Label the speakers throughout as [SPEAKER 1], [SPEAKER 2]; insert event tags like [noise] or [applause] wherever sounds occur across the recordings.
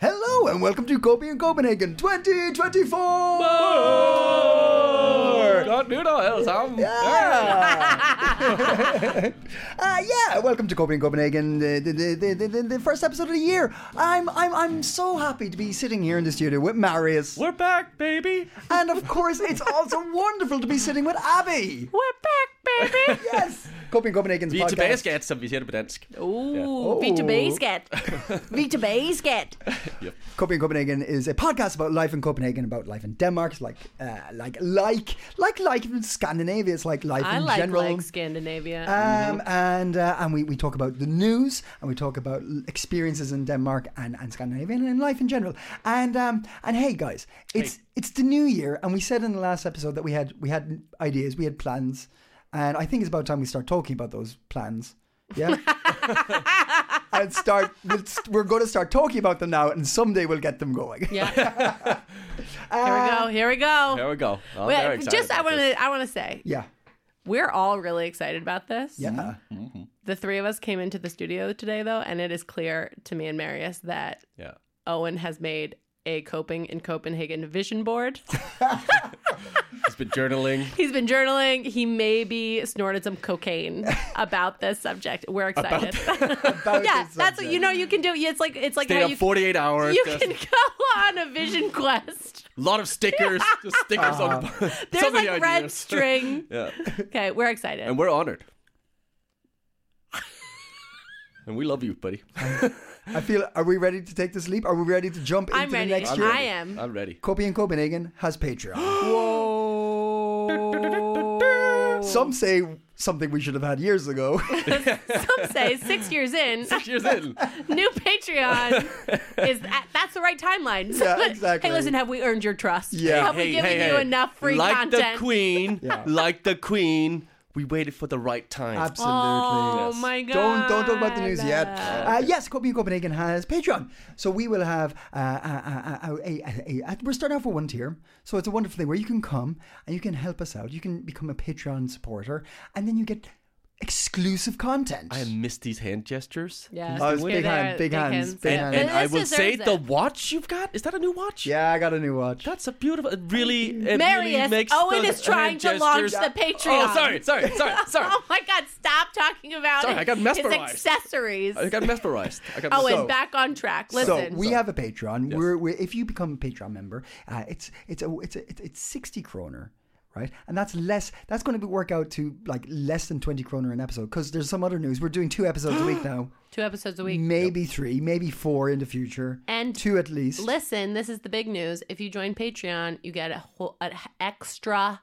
[SPEAKER 1] Hello and welcome to Kobe in Copenhagen 2024!
[SPEAKER 2] Godt nytår alle sammen.
[SPEAKER 1] Yeah. [laughs] uh, yeah, welcome to Copenhagen, Copenhagen, the, the, the, the, the, the first episode of the year. I'm, I'm, I'm so happy to be sitting here in the studio with Marius.
[SPEAKER 2] We're back, baby.
[SPEAKER 1] And of course, it's also wonderful to be sitting with Abby.
[SPEAKER 3] We're back, baby!
[SPEAKER 1] Yes! Copenhagen, Copenhagen's
[SPEAKER 2] Vi er
[SPEAKER 1] podcast.
[SPEAKER 2] tilbage, skat, som vi siger det på dansk.
[SPEAKER 3] Uh, vi er tilbage i [laughs] skat. Vi er tilbage i
[SPEAKER 1] [laughs]
[SPEAKER 3] skat.
[SPEAKER 1] Copenhagen, Copenhagen is a podcast about life in Copenhagen, about life in Denmark. It's like, uh, like, like, like life in Scandinavia. It's like life
[SPEAKER 3] I
[SPEAKER 1] in
[SPEAKER 3] like
[SPEAKER 1] general.
[SPEAKER 3] like Scandinavia.
[SPEAKER 2] Ah.
[SPEAKER 1] Um, and uh, and we, we talk about the news and we talk about l- experiences in Denmark and, and Scandinavia and in life in general. And um, and hey guys, it's it's the new year, and we said in the last episode that we had we had ideas, we had plans, and I think it's about time we start talking about those plans.
[SPEAKER 3] [laughs]
[SPEAKER 1] Yeah. and start we'll, st- we're going to start talking about them now, and someday we'll get them going.
[SPEAKER 3] yeah. here we go. Here we go.
[SPEAKER 2] There we go. Oh,
[SPEAKER 3] Wait,
[SPEAKER 2] very excited
[SPEAKER 3] just I
[SPEAKER 2] about
[SPEAKER 3] want
[SPEAKER 2] this.
[SPEAKER 3] to I want to say
[SPEAKER 1] Yeah.
[SPEAKER 3] we're all really excited about this.
[SPEAKER 1] Yeah.
[SPEAKER 3] Mm-hmm. The three of us came into the studio today though, and it is clear to me and Marius that
[SPEAKER 2] Yeah.
[SPEAKER 3] Owen has made a coping in Copenhagen
[SPEAKER 2] [laughs]
[SPEAKER 3] vision board.
[SPEAKER 2] He's been
[SPEAKER 3] [laughs]
[SPEAKER 2] journaling.
[SPEAKER 3] He's been journaling. He maybe snorted some cocaine about this subject. We're excited.
[SPEAKER 1] About
[SPEAKER 2] [laughs]
[SPEAKER 3] [laughs] yeah,
[SPEAKER 1] this
[SPEAKER 3] that's
[SPEAKER 1] subject.
[SPEAKER 3] you know you can do. It's like it's like
[SPEAKER 2] Stayed
[SPEAKER 3] how
[SPEAKER 2] up
[SPEAKER 3] you
[SPEAKER 2] 48 hours.
[SPEAKER 3] you
[SPEAKER 2] just
[SPEAKER 3] can go on a vision
[SPEAKER 1] [laughs]
[SPEAKER 3] quest.
[SPEAKER 2] A lot of stickers. just stickers on the [laughs]
[SPEAKER 3] There's
[SPEAKER 2] so many
[SPEAKER 3] like red
[SPEAKER 1] [laughs]
[SPEAKER 2] ideas.
[SPEAKER 3] string.
[SPEAKER 2] yeah.
[SPEAKER 3] Okay, we're excited.
[SPEAKER 2] And we're honored. and we love you, buddy.
[SPEAKER 1] I feel. Are we ready to take this leap? Are we ready to jump into
[SPEAKER 3] I'm
[SPEAKER 1] the
[SPEAKER 3] ready.
[SPEAKER 1] next
[SPEAKER 3] I'm
[SPEAKER 1] year?
[SPEAKER 3] ready. I am.
[SPEAKER 2] I'm ready.
[SPEAKER 1] Copy in Copenhagen has Patreon.
[SPEAKER 2] [laughs]
[SPEAKER 1] Some say something we should have had years ago.
[SPEAKER 3] Some say six years
[SPEAKER 1] [laughs]
[SPEAKER 3] in, [laughs]
[SPEAKER 2] Cheers in.
[SPEAKER 3] new Patreon is that, that's the right timeline. So,
[SPEAKER 1] Yeah, exactly.
[SPEAKER 3] [laughs] Hey, listen, have we earned your trust?
[SPEAKER 1] Yeah.
[SPEAKER 3] have we given you enough free
[SPEAKER 2] like
[SPEAKER 3] content? [laughs]
[SPEAKER 2] the queen,
[SPEAKER 1] Yeah.
[SPEAKER 2] like the queen, we waited for the right time.
[SPEAKER 1] Absolutely.
[SPEAKER 3] Oh my god!
[SPEAKER 1] Don't don't talk about the news yet. Uh, yes, Copy in Copenhagen has Patreon, so we will have uh, uh, uh, uh, a, a, a, a- we're starting off with one tier. So it's a wonderful thing where you can come and you can help us out. You can become a Patreon supporter, and then you get exclusive content.
[SPEAKER 2] I miss these hand gestures.
[SPEAKER 3] Yeah,
[SPEAKER 1] Oh, it's
[SPEAKER 3] okay,
[SPEAKER 1] big
[SPEAKER 3] there-
[SPEAKER 1] hand, big hands, big
[SPEAKER 3] yeah.
[SPEAKER 1] hands.
[SPEAKER 2] And,
[SPEAKER 3] But
[SPEAKER 2] and I
[SPEAKER 3] this
[SPEAKER 2] will say
[SPEAKER 3] deserves
[SPEAKER 2] the
[SPEAKER 1] [laughs]
[SPEAKER 3] [laughs] it.
[SPEAKER 2] watch you've got is that a new watch?
[SPEAKER 1] yeah, I got a new watch.
[SPEAKER 2] That's a beautiful. It really, it really
[SPEAKER 3] Marius,
[SPEAKER 2] makes
[SPEAKER 3] Owen
[SPEAKER 2] the
[SPEAKER 3] is trying
[SPEAKER 2] hand
[SPEAKER 3] to launch
[SPEAKER 2] gestures-
[SPEAKER 3] the Patreon.
[SPEAKER 2] Oh, sorry, sorry, sorry,
[SPEAKER 3] [laughs]
[SPEAKER 2] sorry.
[SPEAKER 3] Oh my god! Stop talking about
[SPEAKER 2] Sorry,
[SPEAKER 3] it.
[SPEAKER 2] I got mesmerized.
[SPEAKER 3] His accessories.
[SPEAKER 2] I got mesmerized. I got
[SPEAKER 3] Owen,
[SPEAKER 2] mesmerized.
[SPEAKER 3] back on track.
[SPEAKER 1] So
[SPEAKER 3] Listen,
[SPEAKER 1] we have a Patreon. We're, we're if you become a Patreon member, uh, it's it's a it's a, it's it's sixty kroner, right? And that's less. That's going to be work out to like less than twenty kroner an episode because there's some other news. We're doing two episodes a
[SPEAKER 3] [gasps]
[SPEAKER 1] week now,
[SPEAKER 3] two episodes a week.
[SPEAKER 1] maybe three, maybe four in the future,
[SPEAKER 3] And
[SPEAKER 1] two at least.
[SPEAKER 3] Listen, this is the big news. If you join Patreon, you get a whole an extra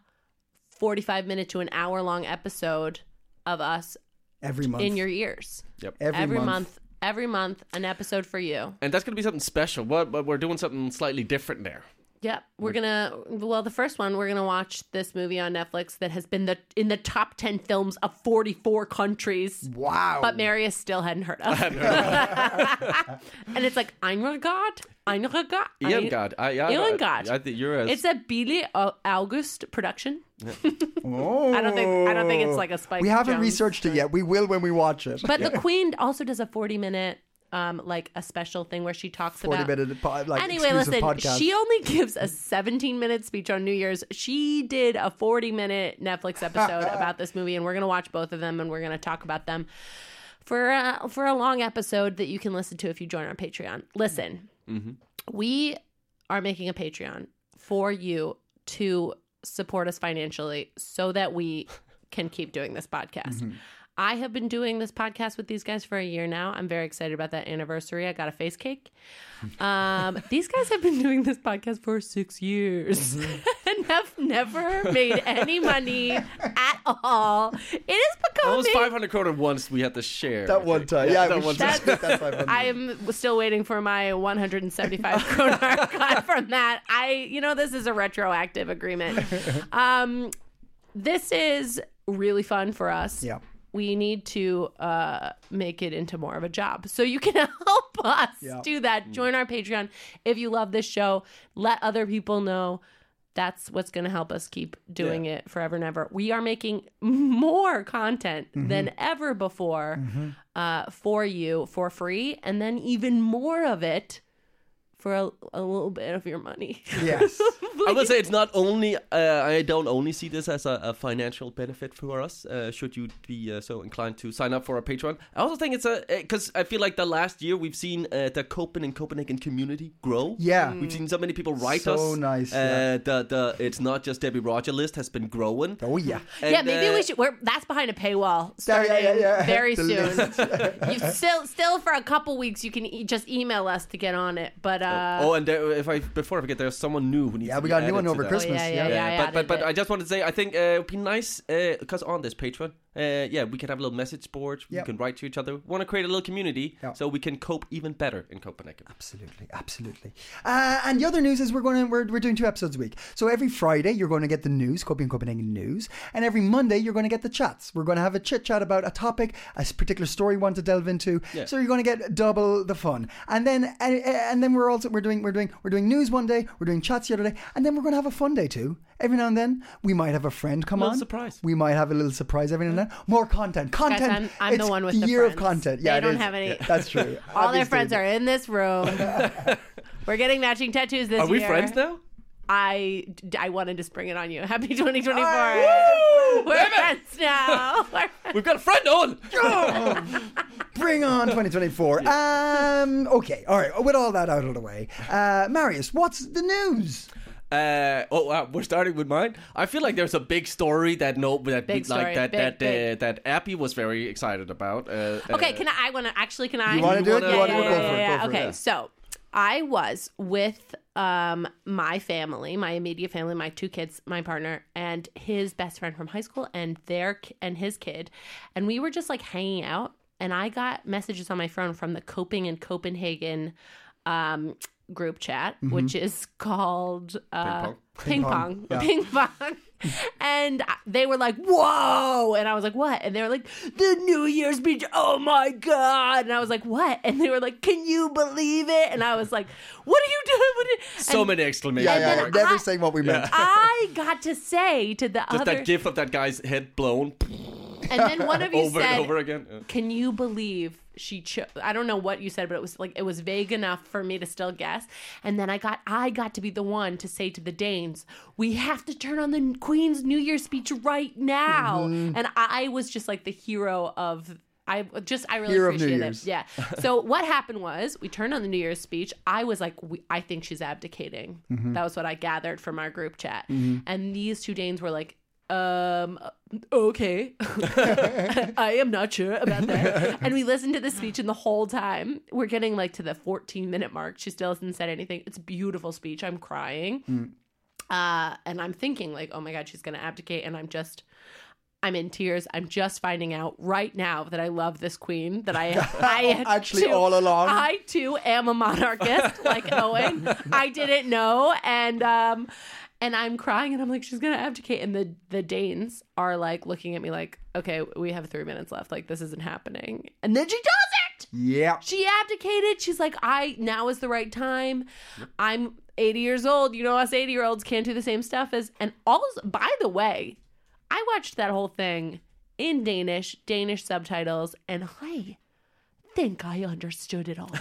[SPEAKER 3] 45 minute to an hour long episode of us
[SPEAKER 1] every month.
[SPEAKER 3] in your ears.
[SPEAKER 2] Yep.
[SPEAKER 1] every,
[SPEAKER 3] Every,
[SPEAKER 1] month.
[SPEAKER 3] month. every month an episode for you.
[SPEAKER 2] And that's gonna be something special. But but we're doing something slightly different there.
[SPEAKER 3] Yep. We're going to well, the first one we're going to watch this movie on Netflix that has been the in the top 10 films of 44 countries.
[SPEAKER 1] Wow.
[SPEAKER 3] But Marius still hadn't heard of. [laughs] and it's like Einragard, Einragard,
[SPEAKER 2] Ian God, I, I,
[SPEAKER 3] Irmgard.
[SPEAKER 2] I, I think you're a.
[SPEAKER 3] It's a Billy August production.
[SPEAKER 1] Oh.
[SPEAKER 3] I don't think I don't think it's like a Spike.
[SPEAKER 1] We haven't
[SPEAKER 3] Jonze
[SPEAKER 1] researched it yet. We will when we watch it.
[SPEAKER 3] But the Queen also does a forty-minute, um, like a special thing where she talks
[SPEAKER 1] Forty
[SPEAKER 3] about.
[SPEAKER 1] minute po- like
[SPEAKER 3] anyway,
[SPEAKER 1] exclusive
[SPEAKER 3] listen.
[SPEAKER 1] podcast.
[SPEAKER 3] She only [laughs] gives a seventeen-minute speech on New Year's. She did a forty-minute Netflix episode
[SPEAKER 1] [laughs]
[SPEAKER 3] about this movie, and we're gonna watch both of them, and we're gonna talk about them for uh, for a long episode that you can listen to if you join our Patreon. Listen, we are making a Patreon for you to support us financially so that we can keep doing this podcast. I have been doing this podcast with these guys for a year now. I'm very excited about that anniversary. I got a face cake. Um, these guys have been doing this podcast for six years. [laughs] and women have never made any money at all. It is
[SPEAKER 2] That was
[SPEAKER 3] becoming.
[SPEAKER 2] 500 kroner once we had to share. I
[SPEAKER 1] That one
[SPEAKER 2] think.
[SPEAKER 1] time. Yeah,
[SPEAKER 2] that
[SPEAKER 1] we
[SPEAKER 2] one
[SPEAKER 1] should
[SPEAKER 2] time.
[SPEAKER 1] split that [laughs] 500.
[SPEAKER 3] [laughs] I am still waiting for my 175 kroner cut from that. I, you know, this is a retroactive agreement. Um, this is really fun for us.
[SPEAKER 1] Yeah.
[SPEAKER 3] We need to uh, make it into more of a job. So you can [laughs] help us
[SPEAKER 1] Yeah.
[SPEAKER 3] do that. Join our Patreon if you love this show. Let other people know. That's what's going to help us keep doing it forever and ever. We are making [laughs] more content than ever before uh, for you for free, and then even more of it for a, a little bit of your money. [laughs]
[SPEAKER 1] Yes.
[SPEAKER 2] I would say it's not only. Uh, I don't only see this as a, a financial benefit for us. Uh, should you be uh, so inclined to sign up for our Patreon, I also think it's a because I feel like the last year we've seen uh, the Copenhagen Copenhagen community grow.
[SPEAKER 1] Yeah.
[SPEAKER 2] we've seen so many people write
[SPEAKER 1] So
[SPEAKER 2] us.
[SPEAKER 1] nice,
[SPEAKER 2] Uh,
[SPEAKER 1] yeah.
[SPEAKER 2] The the it's not just Debbie Roger list has been growing.
[SPEAKER 1] Oh yeah.
[SPEAKER 3] yeah,
[SPEAKER 2] And,
[SPEAKER 3] maybe
[SPEAKER 2] uh,
[SPEAKER 3] we should. We're, that's behind a paywall
[SPEAKER 1] Yeah, yeah,
[SPEAKER 3] starting
[SPEAKER 1] yeah, yeah.
[SPEAKER 3] very
[SPEAKER 1] The
[SPEAKER 3] soon. [laughs] you still, still for a couple weeks, you can e- just email us to get on it. But uh,
[SPEAKER 2] oh, and there, if I before I forget, there's someone new who needs.
[SPEAKER 1] Yeah,
[SPEAKER 2] to
[SPEAKER 1] we
[SPEAKER 2] be
[SPEAKER 1] got a new
[SPEAKER 2] added
[SPEAKER 1] one
[SPEAKER 2] to
[SPEAKER 1] over
[SPEAKER 2] that.
[SPEAKER 1] Christmas.
[SPEAKER 3] Oh,
[SPEAKER 1] yeah.
[SPEAKER 3] yeah, yeah, yeah.
[SPEAKER 2] but
[SPEAKER 3] I
[SPEAKER 2] but,
[SPEAKER 3] added
[SPEAKER 2] but
[SPEAKER 3] it.
[SPEAKER 2] I just wanted to say I think uh, it would be nice because on this Patreon, uh, yeah, we can have a little message board.
[SPEAKER 1] Yep.
[SPEAKER 2] We can write to each other. want to create a little community
[SPEAKER 1] Yeah.
[SPEAKER 2] so we can cope even better in Copenhagen.
[SPEAKER 1] Absolutely, absolutely. Uh, and the other news is we're going to we're, we're doing two episodes a week. So every Friday you're going to get the news, Copenhagen Copenhagen news, and every Monday you're going to get the chats. We're going to have a chit chat about a topic, a s- particular story you want to delve into. So you're going to get double the fun. And then and, and then we're also we're doing we're doing we're doing news one day, we're doing chats the other day, and then we're going to have a fun day too. Every now and then we might have a friend come
[SPEAKER 2] Little
[SPEAKER 1] on.
[SPEAKER 2] surprise.
[SPEAKER 1] We might have a little surprise every now and then. More content,
[SPEAKER 3] Guys,
[SPEAKER 1] content.
[SPEAKER 3] I'm, I'm the
[SPEAKER 1] It's
[SPEAKER 3] one with the
[SPEAKER 1] year of
[SPEAKER 3] friends.
[SPEAKER 1] content.
[SPEAKER 3] They
[SPEAKER 1] Yeah, it
[SPEAKER 3] don't
[SPEAKER 1] is.
[SPEAKER 3] have any.
[SPEAKER 1] That's true.
[SPEAKER 3] [laughs] All their
[SPEAKER 1] Obviously.
[SPEAKER 3] friends are in this room. [laughs] We're getting matching tattoos this
[SPEAKER 2] Are we
[SPEAKER 3] year.
[SPEAKER 2] friends now?
[SPEAKER 3] I, I wanted to spring it on you. Happy 2024.
[SPEAKER 2] Woo!
[SPEAKER 3] We're
[SPEAKER 2] Damn it!
[SPEAKER 3] friends now. [laughs] We're friends.
[SPEAKER 2] We've got a friend on. [laughs]
[SPEAKER 1] Bring on 2024. Um, okay, all right. With all that out of the way, uh, Marius, what's the news?
[SPEAKER 2] Uh, oh, wow, we're starting with mine. I feel like there's a big story that no, that
[SPEAKER 3] Big
[SPEAKER 2] like
[SPEAKER 3] story,
[SPEAKER 2] that
[SPEAKER 3] big,
[SPEAKER 2] that
[SPEAKER 3] big.
[SPEAKER 2] Uh, that Appy was very excited about. Uh,
[SPEAKER 3] Okay,
[SPEAKER 2] uh,
[SPEAKER 3] can I? I want to actually. Can I?
[SPEAKER 1] You wanna
[SPEAKER 2] do it? You
[SPEAKER 3] Yeah,
[SPEAKER 2] wanna-
[SPEAKER 3] yeah,
[SPEAKER 2] go
[SPEAKER 3] yeah,
[SPEAKER 2] for
[SPEAKER 1] go
[SPEAKER 2] it,
[SPEAKER 3] yeah, yeah.
[SPEAKER 1] for it.
[SPEAKER 3] Okay, so I was with um my family, my immediate family, my two kids, my partner, and his best friend from high school, and their ki- and his kid, and we were just like hanging out. And I got messages on my phone from the Coping in Copenhagen um, group chat, which is called uh, Ping Pong. [laughs] Ping Pong. Ping pong. and I- they were like, whoa. And I was like, what? And they were like, the New Year's speech. Oh my God. And I was like, what? And they were like, can you believe it? And I was like, what are you doing? What are-"
[SPEAKER 2] So
[SPEAKER 3] and
[SPEAKER 2] many exclamation
[SPEAKER 3] yeah,
[SPEAKER 2] marks.
[SPEAKER 3] then yeah.
[SPEAKER 1] Never
[SPEAKER 3] I-
[SPEAKER 1] saying what we meant.
[SPEAKER 3] I got to say to the
[SPEAKER 2] Just
[SPEAKER 3] other,
[SPEAKER 2] that gif of that guy's head blown
[SPEAKER 3] and then
[SPEAKER 2] [laughs]
[SPEAKER 3] one of you
[SPEAKER 2] over
[SPEAKER 3] said,
[SPEAKER 2] and over again. Uh,
[SPEAKER 3] Can you believe she chose? I don't know what you said, but it was like it was vague enough for me to still guess. And then I got I got to be the one to say to the Danes, "We have to turn on the Queen's New Year speech right now."
[SPEAKER 1] Mm-hmm.
[SPEAKER 3] And I was just like the hero of. I just I really
[SPEAKER 1] Hero of New
[SPEAKER 3] appreciate it.
[SPEAKER 1] Year's. [laughs]
[SPEAKER 3] Yeah. So what happened was we turned on the New Year's speech. I was like, we, I think she's abdicating.
[SPEAKER 1] Mm-hmm.
[SPEAKER 3] That was what I gathered from our group chat. And these two Danes were like, um, okay. [laughs] I am not sure
[SPEAKER 1] [laughs]
[SPEAKER 3] about that. and we listened to the speech, and the whole time we're getting like to the 14 minute mark. She still hasn't said anything. It's a beautiful speech. I'm crying.
[SPEAKER 1] Hmm.
[SPEAKER 3] Uh, and I'm thinking, like, oh my God, she's going to abdicate. And I'm just. I'm in tears. I'm just finding out right now that I love this
[SPEAKER 1] [laughs]
[SPEAKER 3] queen. That I, I
[SPEAKER 1] Oh, Actually,
[SPEAKER 3] too-
[SPEAKER 1] all along.
[SPEAKER 3] I too am a monarchist, like Owen. I didn't know, and um, and I'm crying, and I'm like, she's gonna abdicate, and the the Danes are like looking at me, like, okay, we have three minutes left, like this isn't happening, and then she does it.
[SPEAKER 1] yeah.
[SPEAKER 3] She abdicated. She's like, I now is the right time. I'm 80 years old. You know, us 80 year olds can't do the same stuff as. And also, by the way, I watched that whole thing in Danish, Danish subtitles, and I think I understood it all.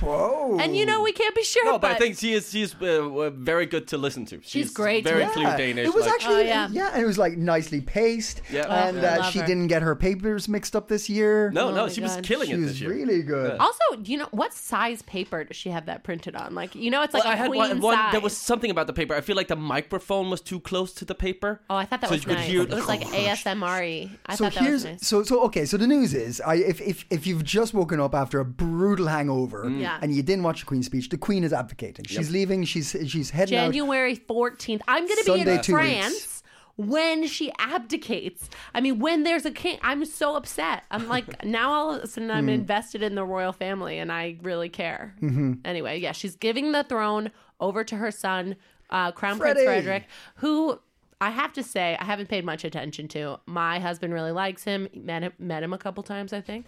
[SPEAKER 1] Whoa.
[SPEAKER 3] and you know, we can't be sure.
[SPEAKER 2] No, but I think she is she's uh, very good to listen to. She's,
[SPEAKER 3] great to
[SPEAKER 2] Very
[SPEAKER 3] listen
[SPEAKER 2] fluent
[SPEAKER 1] Yeah.
[SPEAKER 2] Danish.
[SPEAKER 1] It was
[SPEAKER 2] like-
[SPEAKER 1] actually,
[SPEAKER 3] Oh,
[SPEAKER 1] yeah.
[SPEAKER 3] yeah.
[SPEAKER 1] and it was like nicely paced.
[SPEAKER 2] Yeah. Oh,
[SPEAKER 1] And
[SPEAKER 3] I
[SPEAKER 1] uh,
[SPEAKER 3] love
[SPEAKER 1] she
[SPEAKER 3] her.
[SPEAKER 1] didn't get her papers mixed up this year.
[SPEAKER 2] no,
[SPEAKER 3] Oh
[SPEAKER 2] no,
[SPEAKER 3] my
[SPEAKER 2] she was
[SPEAKER 3] God.
[SPEAKER 2] killing
[SPEAKER 1] she
[SPEAKER 2] it
[SPEAKER 1] was
[SPEAKER 2] this year.
[SPEAKER 1] really good.
[SPEAKER 3] Also, you know, what size paper does she have that printed on? Like, you know, it's like
[SPEAKER 2] Well,
[SPEAKER 3] a
[SPEAKER 2] I had
[SPEAKER 3] queen
[SPEAKER 2] one, one.
[SPEAKER 3] size.
[SPEAKER 2] There was something about the paper. I feel like the microphone was too close to the paper.
[SPEAKER 3] Oh, I thought that
[SPEAKER 2] so
[SPEAKER 3] was
[SPEAKER 2] you could
[SPEAKER 3] nice.
[SPEAKER 2] hear- Oh,
[SPEAKER 3] it
[SPEAKER 2] [laughs]
[SPEAKER 3] was like ASMR. I
[SPEAKER 1] so
[SPEAKER 3] thought that
[SPEAKER 1] here's
[SPEAKER 3] was nice.
[SPEAKER 1] so so okay. So the news is, I if if if you've just woken woken up after a brutal hangover
[SPEAKER 2] Mm.
[SPEAKER 3] Yeah.
[SPEAKER 1] and you didn't watch the Queen's speech, the Queen is abdicating. She's leaving, she's she's heading out.
[SPEAKER 3] January 14th. I'm going to be
[SPEAKER 1] Sunday,
[SPEAKER 3] in
[SPEAKER 1] two
[SPEAKER 3] France
[SPEAKER 1] weeks.
[SPEAKER 3] when she abdicates. I mean, when there's a king, I'm so upset. I'm like, now all of a sudden I'm invested in the royal family and I really care. Anyway, yeah, she's giving the throne over to her son, uh, Crown
[SPEAKER 1] Freddie.
[SPEAKER 3] Prince Frederick, who. I have to say, I haven't paid much attention to. My husband really likes him. Met him, met him a couple times, I think.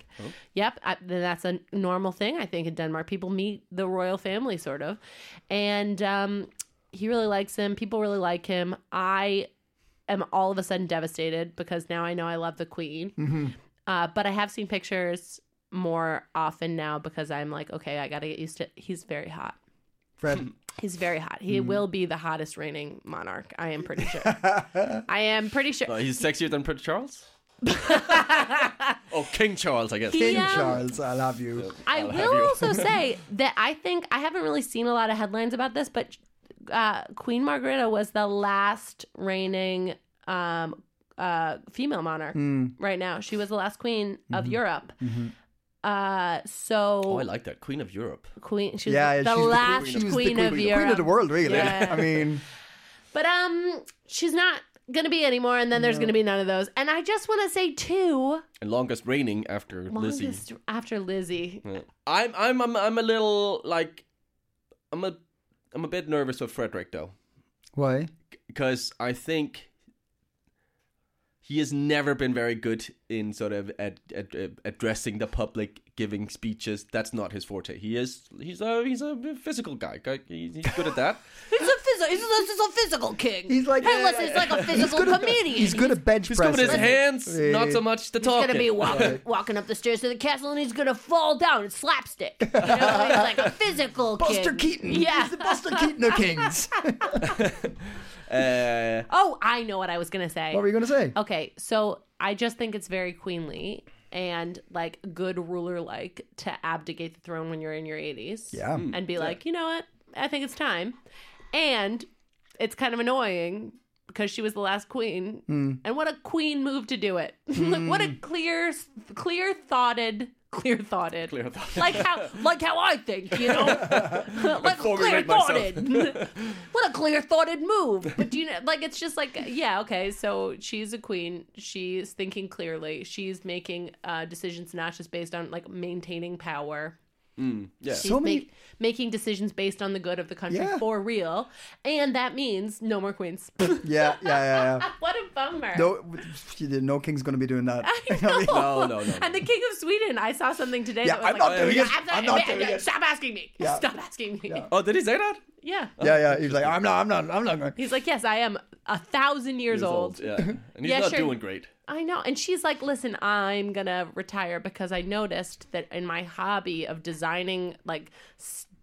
[SPEAKER 3] Yep, I, that's a normal thing. I think in Denmark, people meet the royal family, sort of, and um, he really likes him. People really like him. I am all of a sudden devastated because now I know I love the queen. Uh, but I have seen pictures more often now because I'm like, okay, I got to get used to. He's very hot.
[SPEAKER 2] [laughs]
[SPEAKER 1] Fred.
[SPEAKER 3] He's very hot. He will be the hottest reigning monarch. I am pretty sure. I am pretty sure.
[SPEAKER 1] Oh.
[SPEAKER 2] Uh, he's sexier than Prince
[SPEAKER 3] [laughs]
[SPEAKER 2] Charles. oh, King Charles, I guess.
[SPEAKER 3] He-
[SPEAKER 1] King
[SPEAKER 3] Yeah.
[SPEAKER 1] Charles, I love you.
[SPEAKER 3] I
[SPEAKER 2] I'll have
[SPEAKER 3] will
[SPEAKER 2] you. [laughs]
[SPEAKER 3] also say that I think I haven't really seen a lot of headlines about this, but uh, Queen Margarita was the last reigning um, uh, female monarch
[SPEAKER 1] Mm,
[SPEAKER 3] right now. She was the last queen of
[SPEAKER 1] Mm-hmm.
[SPEAKER 3] Europe. Uh, so
[SPEAKER 2] Oh, I like that. Queen of Europe.
[SPEAKER 3] queen, she was
[SPEAKER 1] Yeah, she's
[SPEAKER 3] the,
[SPEAKER 1] the
[SPEAKER 3] last
[SPEAKER 1] queen
[SPEAKER 3] queen,
[SPEAKER 1] of-
[SPEAKER 3] of, Europe.
[SPEAKER 1] Queen of the world, really.
[SPEAKER 3] Yeah.
[SPEAKER 1] [laughs] I mean,
[SPEAKER 3] But um, she's not gonna be anymore, and then there's gonna be none of those. And I just want to say too,
[SPEAKER 2] And longest reigning after Lizzie.
[SPEAKER 3] longest after Lizzie.
[SPEAKER 2] Yeah. I'm, I'm, I'm, I'm a little like, I'm a, I'm a bit nervous of Frederick though,
[SPEAKER 1] why?
[SPEAKER 2] because I think he has never been very good in sort of at, at, uh, addressing the public, giving speeches. That's not his forte. He is, he's a, he's a physical guy. Guy- He's, he's good at that.
[SPEAKER 3] [laughs] He's a physical. He's a, he's a physical king.
[SPEAKER 1] He's like-
[SPEAKER 3] Headless is like a physical comedian.
[SPEAKER 1] He's good at bench
[SPEAKER 2] He's
[SPEAKER 1] pressing.
[SPEAKER 2] good with his hands, not so much the
[SPEAKER 3] He's
[SPEAKER 2] talking.
[SPEAKER 3] gonna be walking, walking up the stairs to the castle, and he's gonna fall down. It's
[SPEAKER 1] [laughs]
[SPEAKER 3] slapstick. You know? He's like a physical
[SPEAKER 1] Buster
[SPEAKER 3] king.
[SPEAKER 1] Keaton.
[SPEAKER 3] Yeah.
[SPEAKER 1] He's the Buster Keaton of
[SPEAKER 3] [laughs]
[SPEAKER 1] kings.
[SPEAKER 2] Uh,
[SPEAKER 3] Oh, I know what I was gonna say.
[SPEAKER 1] what were you going to say?
[SPEAKER 3] Okay, so I just think it's very queenly and like good ruler like to abdicate the throne when you're in your 80s.
[SPEAKER 1] Yeah. Mm,
[SPEAKER 3] And be like, you know what? I think it's time. And it's kind of annoying because she was the last queen. And what a queen move to do it. [laughs] like what a clear clear thoughted clear thoughted. Clear
[SPEAKER 2] thoughted.
[SPEAKER 3] Like how like how I think,
[SPEAKER 1] [laughs]
[SPEAKER 3] you know? like clear
[SPEAKER 2] formulate myself.
[SPEAKER 3] thoughted. [laughs] what a clear thoughted move. But do you know, like, it's just like, yeah, okay, so she's a queen. She's thinking clearly. She's making uh, decisions not just based on like maintaining power.
[SPEAKER 2] yeah.
[SPEAKER 3] She's
[SPEAKER 1] So many-
[SPEAKER 3] make- making decisions based on the good of the country
[SPEAKER 1] Yeah.
[SPEAKER 3] for real. And that means no more queens. [laughs]
[SPEAKER 1] Yeah, yeah, yeah, yeah.
[SPEAKER 3] what a bummer. [laughs]
[SPEAKER 1] No, no king's going to be doing that. [laughs]
[SPEAKER 3] No.
[SPEAKER 2] No, no, no,
[SPEAKER 3] And the King of Sweden, I saw something today
[SPEAKER 1] Yeah,
[SPEAKER 3] that was
[SPEAKER 1] I'm
[SPEAKER 3] like,
[SPEAKER 1] not doing
[SPEAKER 3] "Yeah,
[SPEAKER 1] it.
[SPEAKER 3] I'm
[SPEAKER 1] I'm not
[SPEAKER 3] yeah,
[SPEAKER 1] doing
[SPEAKER 3] yeah,
[SPEAKER 1] it."
[SPEAKER 3] Stop asking me.
[SPEAKER 1] Yeah.
[SPEAKER 3] Stop asking me.
[SPEAKER 1] Yeah.
[SPEAKER 2] [laughs] Oh, did he say that?
[SPEAKER 3] yeah.
[SPEAKER 1] Yeah, yeah. He's like, I'm not, I'm not, I'm not going.
[SPEAKER 3] He's like, yes, I am a thousand years, old.
[SPEAKER 2] Yeah. And he's
[SPEAKER 3] Yeah,
[SPEAKER 2] not
[SPEAKER 3] sure.
[SPEAKER 2] doing great.
[SPEAKER 3] I know. And she's like, listen, I'm going to retire because I noticed that in my hobby of designing like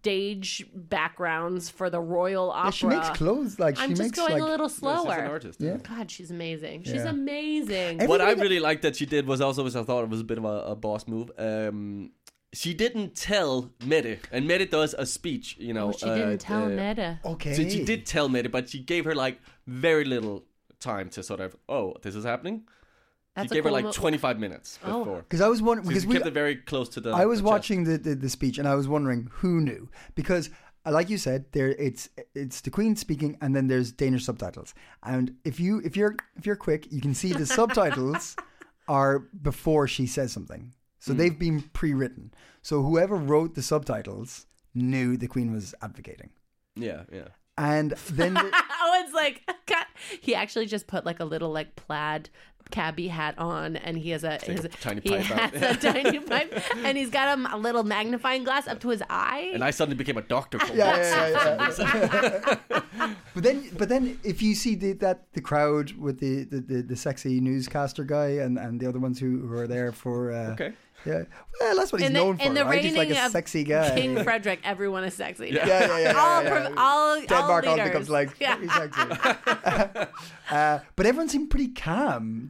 [SPEAKER 3] stage backgrounds for the Royal Opera,
[SPEAKER 1] She makes clothes like
[SPEAKER 3] I'm
[SPEAKER 1] she
[SPEAKER 3] just
[SPEAKER 1] makes
[SPEAKER 3] going
[SPEAKER 1] like.
[SPEAKER 3] a little
[SPEAKER 2] She's
[SPEAKER 3] slower.
[SPEAKER 2] an artist.
[SPEAKER 1] Yeah.
[SPEAKER 3] God, she's amazing. She's
[SPEAKER 1] Yeah.
[SPEAKER 3] amazing.
[SPEAKER 1] Every-
[SPEAKER 2] What I
[SPEAKER 3] [laughs]
[SPEAKER 1] Everybody-
[SPEAKER 2] really liked that she did was also, was I thought it was a bit of a, a boss move. Um, she didn't tell Mette, and Mette does a speech, you know.
[SPEAKER 3] But Oh, she
[SPEAKER 2] uh,
[SPEAKER 3] didn't tell
[SPEAKER 2] uh,
[SPEAKER 3] Meta.
[SPEAKER 1] Okay.
[SPEAKER 2] So she did tell Mette, but she gave her like very little time to sort of, oh, this is happening.
[SPEAKER 3] That's
[SPEAKER 2] she
[SPEAKER 3] a
[SPEAKER 2] gave
[SPEAKER 3] cool
[SPEAKER 2] her like
[SPEAKER 3] mo-
[SPEAKER 2] 25 minutes
[SPEAKER 3] Oh. [laughs]
[SPEAKER 2] before.
[SPEAKER 1] Because I was wondering. Because
[SPEAKER 2] Because she
[SPEAKER 1] we,
[SPEAKER 2] kept it very close to the.
[SPEAKER 1] I was
[SPEAKER 2] the chest.
[SPEAKER 1] watching the, the the speech and I was wondering who knew because uh, like you said there it's it's the queen speaking and then there's Danish subtitles and if you if you're if you're quick you can see
[SPEAKER 2] [laughs]
[SPEAKER 1] the subtitles are before she says something so
[SPEAKER 2] Hmm.
[SPEAKER 1] they've been pre-written so whoever wrote the subtitles knew the queen was advocating
[SPEAKER 2] Yeah, yeah.
[SPEAKER 1] and then
[SPEAKER 2] [laughs]
[SPEAKER 1] the-
[SPEAKER 3] oh, it's like [laughs] God. he actually just put like a little like plaid cabbie hat on, and he has a, his,
[SPEAKER 2] tiny
[SPEAKER 3] he
[SPEAKER 2] pipe out.
[SPEAKER 3] has a tiny pipe, and he's got um, a little magnifying glass up to his eye.
[SPEAKER 2] And I suddenly became a doctor.
[SPEAKER 1] [laughs]
[SPEAKER 2] for
[SPEAKER 1] yeah,
[SPEAKER 2] once.
[SPEAKER 1] yeah, yeah, yeah. but then, but then, if you see the, that the crowd with the, the, the, the sexy newscaster guy and, and the other ones who, who are there for uh,
[SPEAKER 2] Okay.
[SPEAKER 1] yeah, well, that's what he's
[SPEAKER 3] in the,
[SPEAKER 1] known for,
[SPEAKER 3] in the
[SPEAKER 1] right? He's
[SPEAKER 3] reigning
[SPEAKER 1] like a
[SPEAKER 3] of
[SPEAKER 1] sexy guy.
[SPEAKER 3] King Frederick, everyone is sexy. now.
[SPEAKER 1] yeah, yeah, yeah,
[SPEAKER 3] all,
[SPEAKER 1] yeah,
[SPEAKER 3] pro-
[SPEAKER 1] yeah.
[SPEAKER 3] all,
[SPEAKER 1] Denmark
[SPEAKER 3] all
[SPEAKER 1] all
[SPEAKER 3] leaders.
[SPEAKER 1] becomes like [laughs]
[SPEAKER 3] yeah.
[SPEAKER 1] pretty sexy. [laughs] uh, but everyone seemed pretty calm.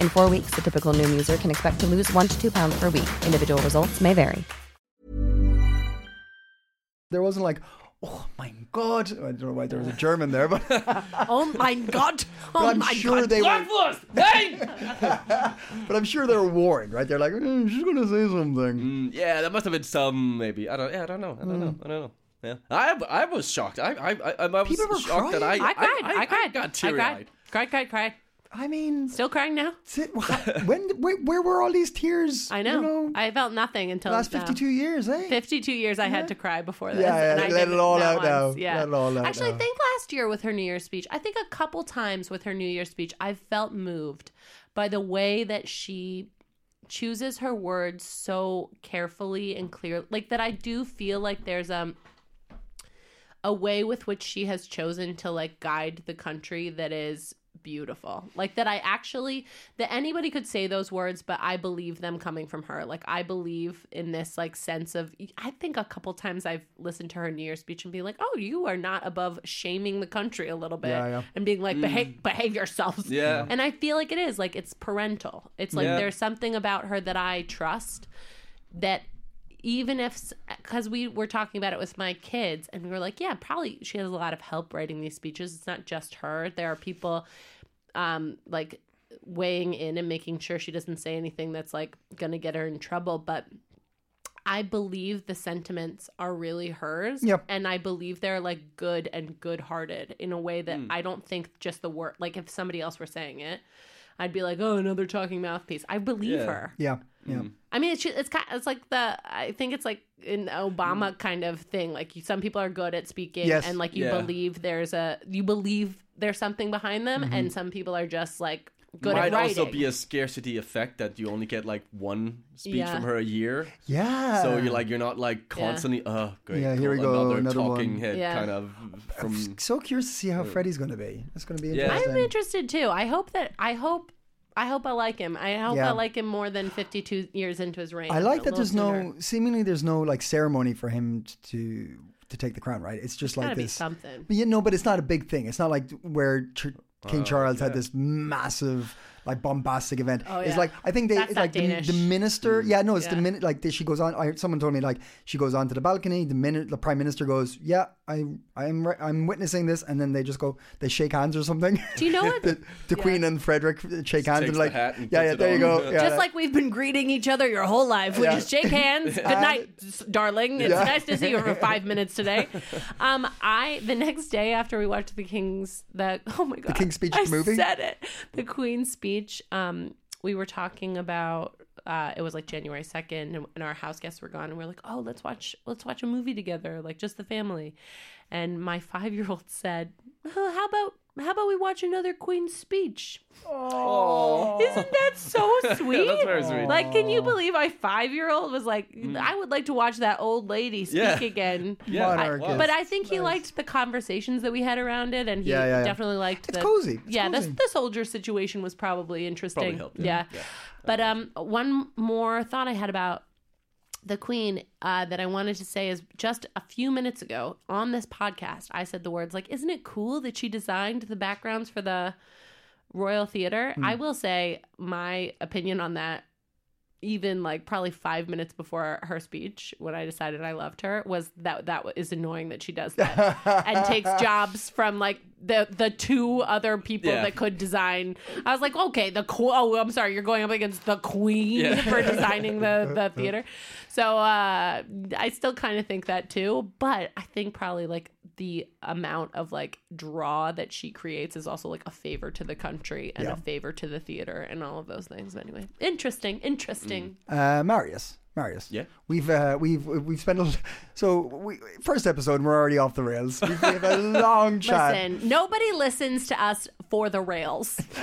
[SPEAKER 4] In four weeks, the typical Noom user can expect to lose one to two pounds per week. Individual results may vary.
[SPEAKER 1] There wasn't like, oh my god. I don't know why there was a German there,
[SPEAKER 3] [laughs]
[SPEAKER 1] but
[SPEAKER 3] Oh my god! Oh
[SPEAKER 1] I'm
[SPEAKER 3] my
[SPEAKER 1] sure
[SPEAKER 3] god!
[SPEAKER 1] they were.
[SPEAKER 2] Bloodlust! Hey!
[SPEAKER 1] But I'm sure they're warned, right? They're like, "Eh, she's gonna say something.
[SPEAKER 2] Mm, yeah, that must have been some maybe. I don't. Yeah, I don't know. I don't
[SPEAKER 3] Hmm.
[SPEAKER 2] know. I don't know. Yeah, I I was shocked. I I I, I was
[SPEAKER 1] People were
[SPEAKER 2] shocked that I
[SPEAKER 1] crying?
[SPEAKER 3] I cried. I, cried.
[SPEAKER 2] got
[SPEAKER 3] I
[SPEAKER 2] teary
[SPEAKER 3] cried.
[SPEAKER 2] eyed.
[SPEAKER 3] Cried. Cried. Cried.
[SPEAKER 1] I mean,
[SPEAKER 3] Still crying now.
[SPEAKER 1] sit-
[SPEAKER 3] [laughs]
[SPEAKER 1] wha- when where, where were all these tears?
[SPEAKER 3] I
[SPEAKER 1] You
[SPEAKER 3] know.
[SPEAKER 1] know
[SPEAKER 3] I felt nothing until
[SPEAKER 1] last
[SPEAKER 3] now.
[SPEAKER 1] fifty-two years, eh?
[SPEAKER 3] 52 years I had to cry before this.
[SPEAKER 1] Yeah, yeah,
[SPEAKER 3] and I
[SPEAKER 1] let
[SPEAKER 3] didn't
[SPEAKER 1] it all
[SPEAKER 3] not
[SPEAKER 1] out now.
[SPEAKER 3] once. Yeah.
[SPEAKER 1] Let it all out
[SPEAKER 3] Actually,
[SPEAKER 1] now.
[SPEAKER 3] I think last year with her New Year's speech, I think a couple times with her New Year's speech, I felt moved by the way that she chooses her words so carefully and clearly. Like that I do feel like there's um a way with which she has chosen to like guide the country that is beautiful. Like that I actually that anybody could say those words, but I believe them coming from her. Like I believe in this like sense of I think a couple times I've listened to her New Year's speech and be like, "Oh, you are not above shaming the country a little bit."
[SPEAKER 1] Yeah, yeah.
[SPEAKER 3] And being like, "Behave behave yourselves."
[SPEAKER 2] Mm. [laughs] Yeah.
[SPEAKER 3] And I feel like it is like it's parental. It's like
[SPEAKER 2] Yeah.
[SPEAKER 3] there's something about her that I trust that even if because we were talking about it with my kids and we were like yeah probably she has a lot of help writing these speeches it's not just her there are people um like weighing in and making sure she doesn't say anything that's like gonna get her in trouble but i believe the sentiments are really hers
[SPEAKER 1] Yep.
[SPEAKER 3] and i believe they're like good and good hearted in a way that i don't think just the word like if somebody else were saying it i'd be like oh another talking mouthpiece i believe
[SPEAKER 2] Yeah.
[SPEAKER 3] her
[SPEAKER 1] Yeah, yeah.
[SPEAKER 2] Hmm.
[SPEAKER 3] I mean, it's ju- it's kind it's like the I think it's like an Obama kind of thing. Like you, some people are good at speaking,
[SPEAKER 1] Mm. Yes.
[SPEAKER 3] and like you
[SPEAKER 2] Yeah.
[SPEAKER 3] believe there's a you believe there's something behind them,
[SPEAKER 1] Mm-hmm.
[SPEAKER 3] and some people are just like good
[SPEAKER 2] Might
[SPEAKER 3] at writing.
[SPEAKER 2] also be a scarcity effect that you only get like one speech
[SPEAKER 3] Yeah. Uh.
[SPEAKER 2] from her a year.
[SPEAKER 1] Yeah.
[SPEAKER 2] So you're like you're not like constantly. Oh, great.
[SPEAKER 1] Yeah, here we
[SPEAKER 2] cool,
[SPEAKER 1] go,
[SPEAKER 2] Another,
[SPEAKER 1] another
[SPEAKER 2] talking
[SPEAKER 1] one.
[SPEAKER 2] head
[SPEAKER 3] Yeah.
[SPEAKER 2] kind of from.
[SPEAKER 1] so curious to see how Freddie's gonna be. It's gonna be
[SPEAKER 2] Hmm. Yeah.
[SPEAKER 1] interesting.
[SPEAKER 3] I'm interested too. I hope that I hope I hope I like him. I hope
[SPEAKER 1] Yeah.
[SPEAKER 3] I like him more than 52 years into his reign.
[SPEAKER 1] I
[SPEAKER 3] a
[SPEAKER 1] like that
[SPEAKER 3] little
[SPEAKER 1] there's
[SPEAKER 3] sooner.
[SPEAKER 1] no seemingly there's no like ceremony for him t- to to take the crown, right? It's just like
[SPEAKER 3] gotta be
[SPEAKER 1] this
[SPEAKER 3] something.
[SPEAKER 1] But you know, but it's not a big thing. It's not like where Ch-
[SPEAKER 3] Oh,
[SPEAKER 1] King Charles had this massive like bombastic event.
[SPEAKER 3] Oh,
[SPEAKER 1] It's
[SPEAKER 3] yeah.
[SPEAKER 1] like I think they
[SPEAKER 3] That's
[SPEAKER 1] it's
[SPEAKER 3] not
[SPEAKER 1] like the,
[SPEAKER 3] Danish.
[SPEAKER 1] the minister. Yeah, no, it's the
[SPEAKER 3] Yeah.
[SPEAKER 1] minute like she goes on. I heard someone told me like she goes onto the balcony. The minute the prime minister goes, yeah, I I'm re- I'm witnessing this, and then they just go they shake hands or something.
[SPEAKER 3] Do you know what?
[SPEAKER 1] [laughs] the the
[SPEAKER 3] Yeah.
[SPEAKER 1] Queen and Frederick shake hands
[SPEAKER 2] takes
[SPEAKER 1] and
[SPEAKER 2] the
[SPEAKER 1] like
[SPEAKER 2] hat and
[SPEAKER 1] yeah
[SPEAKER 2] puts
[SPEAKER 1] yeah
[SPEAKER 2] it
[SPEAKER 1] there you
[SPEAKER 2] on. [laughs]
[SPEAKER 1] go yeah,
[SPEAKER 3] Just like we've been greeting each other your whole life, we
[SPEAKER 1] Yeah.
[SPEAKER 3] just shake
[SPEAKER 1] [laughs]
[SPEAKER 3] hands. Good night, s- darling. It's
[SPEAKER 1] Yeah.
[SPEAKER 3] nice to see you
[SPEAKER 1] [laughs]
[SPEAKER 3] for five minutes today. Um, I the next day after we watched the King's the [laughs] oh my god the
[SPEAKER 1] King's Speech
[SPEAKER 3] I
[SPEAKER 1] movie?
[SPEAKER 3] said it the Queen's speech. Um, we were talking about uh, it was like January second, and, and our house guests were gone, and we are like, oh, let's watch let's watch a movie together, like just the family. And my five year old said, oh, how about how about we watch another Queen's speech? Isn't
[SPEAKER 2] [laughs]
[SPEAKER 3] that so sweet?
[SPEAKER 2] that's very sweet. Mm.
[SPEAKER 3] Like, can you believe my five year old was like, I would like to watch that old lady speak
[SPEAKER 2] Yeah.
[SPEAKER 3] again.
[SPEAKER 2] [laughs] Yeah.
[SPEAKER 3] I-
[SPEAKER 1] Monarch is
[SPEAKER 3] but I think he liked the conversations that we had around it, and he
[SPEAKER 1] Yeah, yeah, yeah.
[SPEAKER 3] definitely liked.
[SPEAKER 1] It's
[SPEAKER 3] the,
[SPEAKER 1] cozy. It's
[SPEAKER 3] yeah,
[SPEAKER 1] cozy.
[SPEAKER 3] The, the soldier situation was probably interesting.
[SPEAKER 2] Probably helped,
[SPEAKER 3] Yeah.
[SPEAKER 2] yeah.
[SPEAKER 3] But um, one more thought I had about the Queen uh, that I wanted to say is just a few minutes ago on this podcast, I said the words like, "Isn't it cool that she designed the backgrounds for the Royal Theater?" I will say my opinion on that even like probably five minutes before her speech when i decided i loved her was that that is annoying that she does that and takes jobs from like the the two other people
[SPEAKER 2] Yeah.
[SPEAKER 3] that could design i was like okay the qu- oh i'm sorry you're going up against the queen
[SPEAKER 2] Yeah.
[SPEAKER 3] [laughs] for designing the
[SPEAKER 2] [laughs]
[SPEAKER 3] the theater so uh i still kind of think that too but i think probably like the amount of like draw that she creates is also like a favor to the country and a favor to the theater and all of those things but anyway interesting interesting
[SPEAKER 2] Mm.
[SPEAKER 1] Uh, Marius. Marius.
[SPEAKER 2] Yeah.
[SPEAKER 1] We've uh, we've we've spent a l- [laughs] so we first episode and we're already off the rails. We've, we
[SPEAKER 2] [laughs]
[SPEAKER 1] have a long chat.
[SPEAKER 3] Listen, nobody listens to us for the
[SPEAKER 2] [laughs]
[SPEAKER 3] rails. [laughs]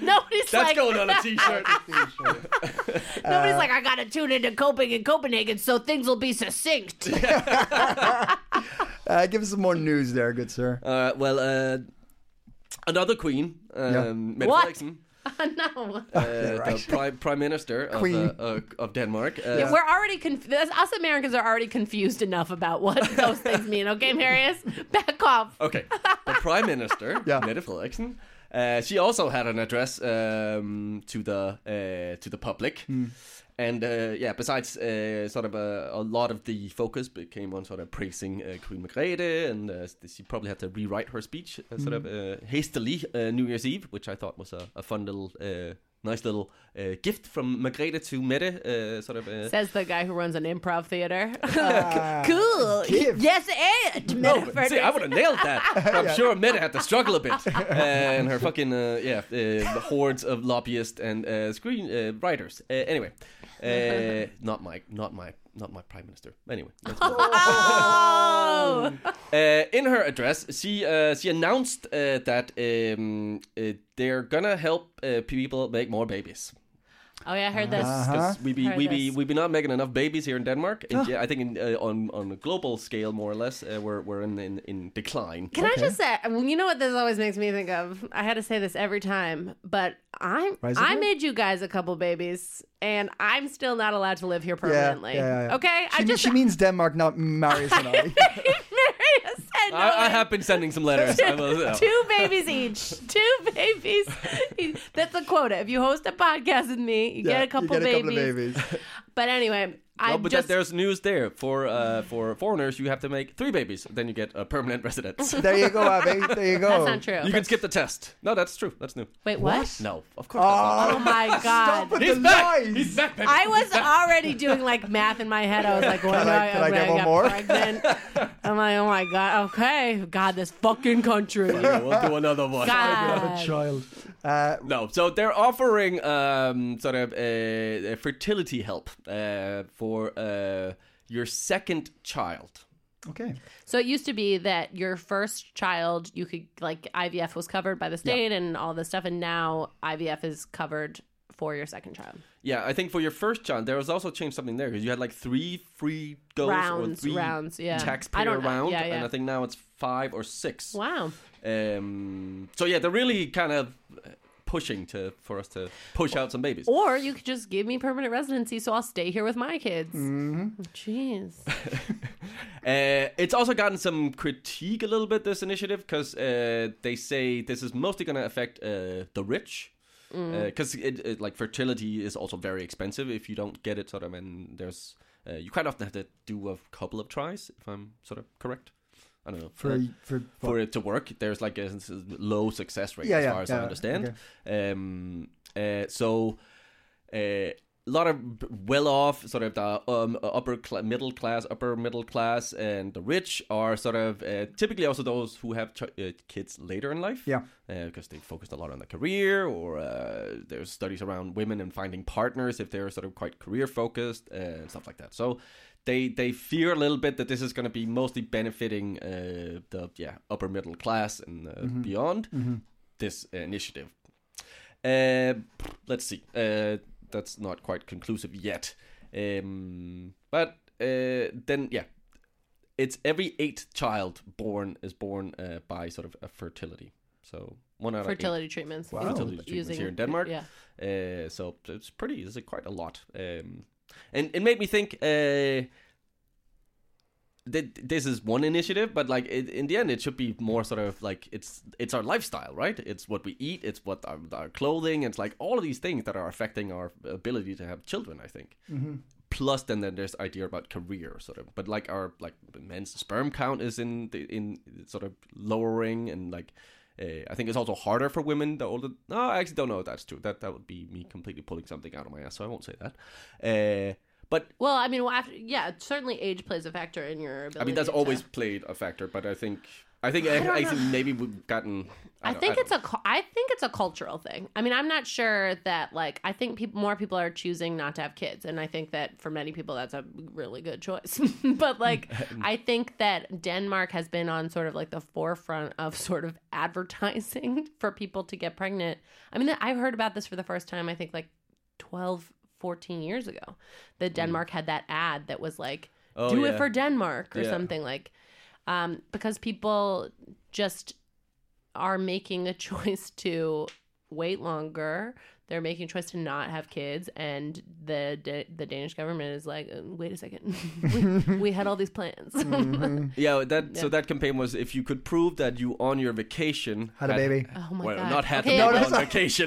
[SPEAKER 3] nobody's
[SPEAKER 2] That's
[SPEAKER 3] like
[SPEAKER 2] going on
[SPEAKER 3] [laughs]
[SPEAKER 2] a
[SPEAKER 1] [laughs]
[SPEAKER 2] t-shirt.
[SPEAKER 3] nobody's like I gotta tune into Coping in Copenhagen so things will
[SPEAKER 2] [laughs]
[SPEAKER 3] be succinct.
[SPEAKER 1] Uh, give us some more news there, good sir.
[SPEAKER 2] uh, well, uh, another queen, um, Mette
[SPEAKER 3] What?
[SPEAKER 2] Frederiksen.
[SPEAKER 3] [laughs] no.
[SPEAKER 2] uh, the prime, prime minister of,
[SPEAKER 1] Queen.
[SPEAKER 2] uh, uh, of Denmark. Uh,
[SPEAKER 3] Yeah, we're already confused. Us Americans are already confused enough about
[SPEAKER 2] [laughs]
[SPEAKER 3] what those things mean. Okay, Marius, back off.
[SPEAKER 2] okay, the prime minister,
[SPEAKER 1] Yeah.
[SPEAKER 2] Mette Frederiksen, uh, she also had an address um, to the uh, to the public. And uh, yeah, besides uh, sort of a, a lot of the focus became on sort of praising uh, Queen Margrethe, and uh, she probably had to rewrite her speech uh, sort of uh, hastily uh, New Year's Eve, which I thought was a, a fun little, uh, nice little uh, gift from Margrethe to Mette, uh, sort of. Uh,
[SPEAKER 3] Says the guy who runs an improv
[SPEAKER 2] [laughs]
[SPEAKER 3] theater. [laughs] cool.
[SPEAKER 1] give.
[SPEAKER 3] Yes, and
[SPEAKER 2] No,
[SPEAKER 3] Meta
[SPEAKER 2] but see, I would have nailed
[SPEAKER 3] [laughs]
[SPEAKER 2] that. But I'm sure Meta had to struggle a bit, and her fucking uh, yeah, uh, the hordes of lobbyists and uh, screen uh, writers. Uh, anyway, uh, not my, not my, not my prime minister. Anyway, let's move on.
[SPEAKER 3] Oh. [laughs]
[SPEAKER 2] Uh, in her address, she uh, she announced uh, that um, uh, they're gonna help uh, people make more babies.
[SPEAKER 3] Oh yeah, I heard this.
[SPEAKER 2] 'Cause we be
[SPEAKER 3] Heard
[SPEAKER 2] we be
[SPEAKER 3] this.
[SPEAKER 2] we be not making enough babies here in Denmark.
[SPEAKER 3] Oh.
[SPEAKER 2] And yeah, I think in, uh, on on a global scale, more or less, uh, we're we're in in, in decline.
[SPEAKER 3] Can I just say, well, you know what this always makes me think of? I had to say this every time, but I
[SPEAKER 1] Rise
[SPEAKER 3] I
[SPEAKER 1] again?
[SPEAKER 3] made you guys a couple babies, and I'm still not allowed to live here permanently. Okay,
[SPEAKER 1] She,
[SPEAKER 3] I
[SPEAKER 1] me-
[SPEAKER 3] just
[SPEAKER 1] she means Denmark, not Marius
[SPEAKER 3] [laughs]
[SPEAKER 1] and I.
[SPEAKER 3] Maria said no.
[SPEAKER 2] I, I have been sending some letters. I will, yeah.
[SPEAKER 3] [laughs] Two babies each. Two babies. each. That's the quota. If you host a podcast with me, you
[SPEAKER 1] Yeah,
[SPEAKER 3] get
[SPEAKER 1] you
[SPEAKER 3] a couple,
[SPEAKER 1] get a
[SPEAKER 3] babies.
[SPEAKER 1] couple of babies.
[SPEAKER 3] But anyway, I
[SPEAKER 2] No, but
[SPEAKER 3] just
[SPEAKER 2] that, there's news there for uh, for foreigners. You have to make three babies, then you get a permanent
[SPEAKER 3] [laughs]
[SPEAKER 2] residence. you
[SPEAKER 1] There you go, Abby. There Oh, you go.
[SPEAKER 3] that's not true.
[SPEAKER 2] can skip the test. No, that's true. That's new.
[SPEAKER 3] Wait, what?
[SPEAKER 2] No, of course.
[SPEAKER 1] Ah.
[SPEAKER 2] that's
[SPEAKER 3] Oh my
[SPEAKER 1] [laughs]
[SPEAKER 3] god.
[SPEAKER 1] Stop with
[SPEAKER 2] He's
[SPEAKER 1] the
[SPEAKER 2] back!
[SPEAKER 1] lies.
[SPEAKER 2] He's back, baby.
[SPEAKER 3] I was already doing like math in my head. I was like, when
[SPEAKER 1] Can
[SPEAKER 3] do
[SPEAKER 1] I-
[SPEAKER 3] I,
[SPEAKER 1] can I
[SPEAKER 3] when
[SPEAKER 1] get
[SPEAKER 3] I
[SPEAKER 1] one
[SPEAKER 3] got
[SPEAKER 1] more?
[SPEAKER 3] pregnant? I'm like, oh my god, okay, God, this fucking
[SPEAKER 1] [laughs]
[SPEAKER 3] country.
[SPEAKER 2] not. We'll do another one.
[SPEAKER 1] Have a
[SPEAKER 3] God.
[SPEAKER 1] child. Uh,
[SPEAKER 2] No, so they're offering um, sort of a, a fertility help uh, for uh, your second child.
[SPEAKER 1] okay.
[SPEAKER 3] So it used to be that your first child, you could like IVF was covered by the state and all this stuff, and now IVF is covered for your second child.
[SPEAKER 2] Yeah, I think for your first child, there was also changed something there because you had like three free goes or
[SPEAKER 3] Rounds,
[SPEAKER 2] three
[SPEAKER 3] rounds, yeah.
[SPEAKER 2] taxpayer
[SPEAKER 3] I don't know.
[SPEAKER 2] round,
[SPEAKER 3] Yeah, yeah.
[SPEAKER 2] and I think now it's five or six.
[SPEAKER 3] Wow.
[SPEAKER 2] Um, so yeah, they're really kind of uh, pushing to for us to push out some babies.
[SPEAKER 3] Or you could just give me permanent residency, so I'll stay here with my kids. Jeez.
[SPEAKER 2] Uh, it's also gotten some critique a little bit this initiative because uh, they say this is mostly going to affect uh, the rich. Because it, it, like fertility is also very expensive if you don't get it sort of and there's uh, you quite often have to do a couple of tries if I'm sort of correct. I don't know
[SPEAKER 1] For,
[SPEAKER 2] Uh,
[SPEAKER 1] for,
[SPEAKER 2] for it to work, there's like a s- low success rate
[SPEAKER 1] Yeah,
[SPEAKER 2] as
[SPEAKER 1] yeah,
[SPEAKER 2] far as I
[SPEAKER 1] yeah,
[SPEAKER 2] understand. Um, uh, so uh, a lot of b- well-off, sort of the um, upper cla middle class, upper middle class, and the rich are sort of uh, typically also those who have ch- uh, kids later in life.
[SPEAKER 1] Yeah.
[SPEAKER 2] because they focused a lot on their career, or uh, there's studies around women and finding partners if they're sort of quite career focused uh, and stuff like that. So. They, they fear a little bit that this is going to be mostly benefiting uh, the yeah upper middle class and uh, beyond this initiative. Uh, let's see. Uh, that's not quite conclusive yet. Um, but uh, then, yeah, it's every eighth child born is born uh, by sort of a fertility. So one out of eight
[SPEAKER 3] Fertility treatments.
[SPEAKER 1] Wow.
[SPEAKER 2] fertility
[SPEAKER 1] Oh,
[SPEAKER 2] treatments here in Denmark.
[SPEAKER 3] Yeah.
[SPEAKER 2] Uh, so it's pretty. It's quite a lot. Um, and it made me think. Uh, that this is one initiative, but like it, in the end, it should be more sort of like it's it's our lifestyle, right? It's what we eat, it's what our, our clothing, it's like all of these things that are affecting our ability to have children. I think. Plus, then, then there's idea about career, sort of, but like our like men's sperm count is in the, in sort of lowering, and like uh, I think it's also harder for women the older. No, I actually don't know if that's true. That that would be me completely pulling something out of my ass, so I won't say that. Uh, but
[SPEAKER 3] Well, I mean, well, after, yeah, certainly age plays a factor in your ability.
[SPEAKER 2] I mean, that's
[SPEAKER 3] to-
[SPEAKER 2] always played a factor, but I think I think I, I think maybe we've gotten.
[SPEAKER 3] I,
[SPEAKER 2] don't-
[SPEAKER 3] think
[SPEAKER 2] don't
[SPEAKER 3] it's a. cu- I think it's a cultural thing. I mean, I'm not sure that like I think people more people are choosing not to have kids, and I think that for many people that's a really good choice. [laughs]
[SPEAKER 2] [laughs]
[SPEAKER 3] but like, I think that Denmark has been on sort of like the forefront of sort of advertising [laughs] for people to get pregnant. I mean, I heard about this for the first time. I think like 12, 14 years ago, that Denmark had that ad that was like,
[SPEAKER 2] Hmm. Oh,
[SPEAKER 3] "Do
[SPEAKER 2] yeah.
[SPEAKER 3] it for Denmark" or
[SPEAKER 2] Yeah.
[SPEAKER 3] something like, um, [laughs] because people just are making a choice to wait longer. They're making a choice to not have kids, and the da- the Danish government is like, "Uh, wait a second, [laughs] we, we had all these plans. [laughs]
[SPEAKER 2] Yeah, that so that campaign was if you could prove that you on your vacation
[SPEAKER 1] Had a baby.
[SPEAKER 3] oh my
[SPEAKER 2] well,
[SPEAKER 3] god,
[SPEAKER 2] not had
[SPEAKER 3] Okay,
[SPEAKER 2] a baby
[SPEAKER 3] let's-
[SPEAKER 2] on vacation.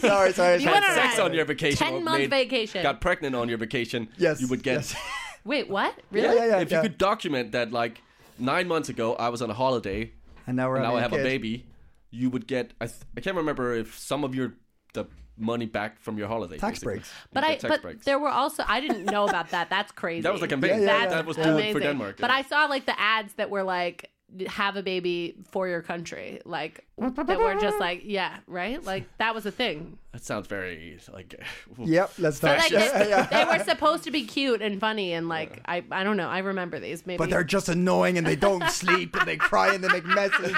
[SPEAKER 1] Sorry, sorry,
[SPEAKER 3] You
[SPEAKER 1] sorry,
[SPEAKER 3] went
[SPEAKER 2] had sex
[SPEAKER 3] on
[SPEAKER 2] on your vacation. or
[SPEAKER 3] 10 month
[SPEAKER 2] made-
[SPEAKER 3] vacation.
[SPEAKER 2] Got pregnant on your vacation.
[SPEAKER 1] Yes,
[SPEAKER 2] You would get. [laughs]
[SPEAKER 1] yes.
[SPEAKER 3] Wait, what?
[SPEAKER 1] Yeah,
[SPEAKER 3] Really?
[SPEAKER 1] yeah, yeah.
[SPEAKER 2] if
[SPEAKER 1] yeah.
[SPEAKER 2] you could document that, like nine months ago, I was on a holiday.
[SPEAKER 1] and now we're
[SPEAKER 2] now
[SPEAKER 1] having
[SPEAKER 2] I have
[SPEAKER 1] kid.
[SPEAKER 2] a baby. You would get. I, th- I can't remember if some of your the money back from your holiday.
[SPEAKER 1] Tax
[SPEAKER 2] basically.
[SPEAKER 1] breaks.
[SPEAKER 2] You
[SPEAKER 3] But
[SPEAKER 2] get
[SPEAKER 3] I,
[SPEAKER 2] tax
[SPEAKER 3] but
[SPEAKER 2] breaks.
[SPEAKER 3] there were also I didn't know about that. That's [laughs] crazy.
[SPEAKER 2] That was the campaign.
[SPEAKER 1] Yeah, yeah,
[SPEAKER 3] That's
[SPEAKER 1] yeah.
[SPEAKER 2] That was
[SPEAKER 3] amazing.
[SPEAKER 2] doing for Denmark.
[SPEAKER 3] But
[SPEAKER 2] yeah.
[SPEAKER 3] I saw like the ads that were like have a baby for your country, like that were just like yeah, right? Like that was a
[SPEAKER 2] [laughs]
[SPEAKER 3] thing.
[SPEAKER 2] that sounds very like. [laughs]
[SPEAKER 1] Yep, let's
[SPEAKER 3] But
[SPEAKER 1] not.
[SPEAKER 3] like
[SPEAKER 1] Yeah,
[SPEAKER 3] they,
[SPEAKER 1] yeah.
[SPEAKER 3] they were supposed to be cute and funny and like I I don't know. I remember these. Maybe
[SPEAKER 1] But they're just annoying and they don't sleep and they cry and they make messes.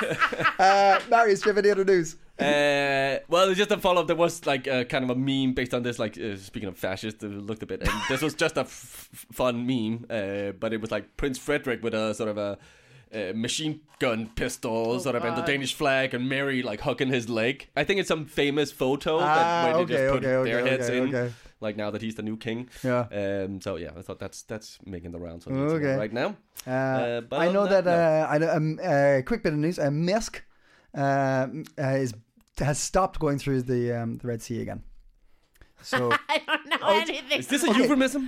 [SPEAKER 1] Uh, Marius, do you have any other news?
[SPEAKER 2] Uh, well, it's just a follow up. There was like uh, kind of a meme based on this. Like uh, speaking of fascists, it looked a bit. And this was just a f- f- fun meme, uh, but it was like Prince Frederick with a sort of a. Uh, machine gun pistol, sort of, and the
[SPEAKER 3] God.
[SPEAKER 2] Danish flag, and Mary like hugging his leg. I think it's some famous photo
[SPEAKER 1] Ah,
[SPEAKER 2] that where they
[SPEAKER 1] okay,
[SPEAKER 2] just put
[SPEAKER 1] okay, okay,
[SPEAKER 2] their heads
[SPEAKER 1] okay,
[SPEAKER 2] in,
[SPEAKER 1] okay.
[SPEAKER 2] like now that he's the new king.
[SPEAKER 1] Yeah.
[SPEAKER 2] Um. So yeah, I thought that's that's making the rounds on the internet
[SPEAKER 1] Okay.
[SPEAKER 2] right now.
[SPEAKER 1] Uh,
[SPEAKER 2] but
[SPEAKER 1] I
[SPEAKER 2] other
[SPEAKER 1] know
[SPEAKER 2] than
[SPEAKER 1] that, uh, I know, um, uh, quick bit of news. Uh, Maersk uh, m- uh, is, has stopped going through the, um, the Red Sea again.
[SPEAKER 2] [laughs]
[SPEAKER 1] So
[SPEAKER 3] [laughs] I don't know anything.
[SPEAKER 2] Oh,
[SPEAKER 1] uh,
[SPEAKER 2] Is this a euphemism?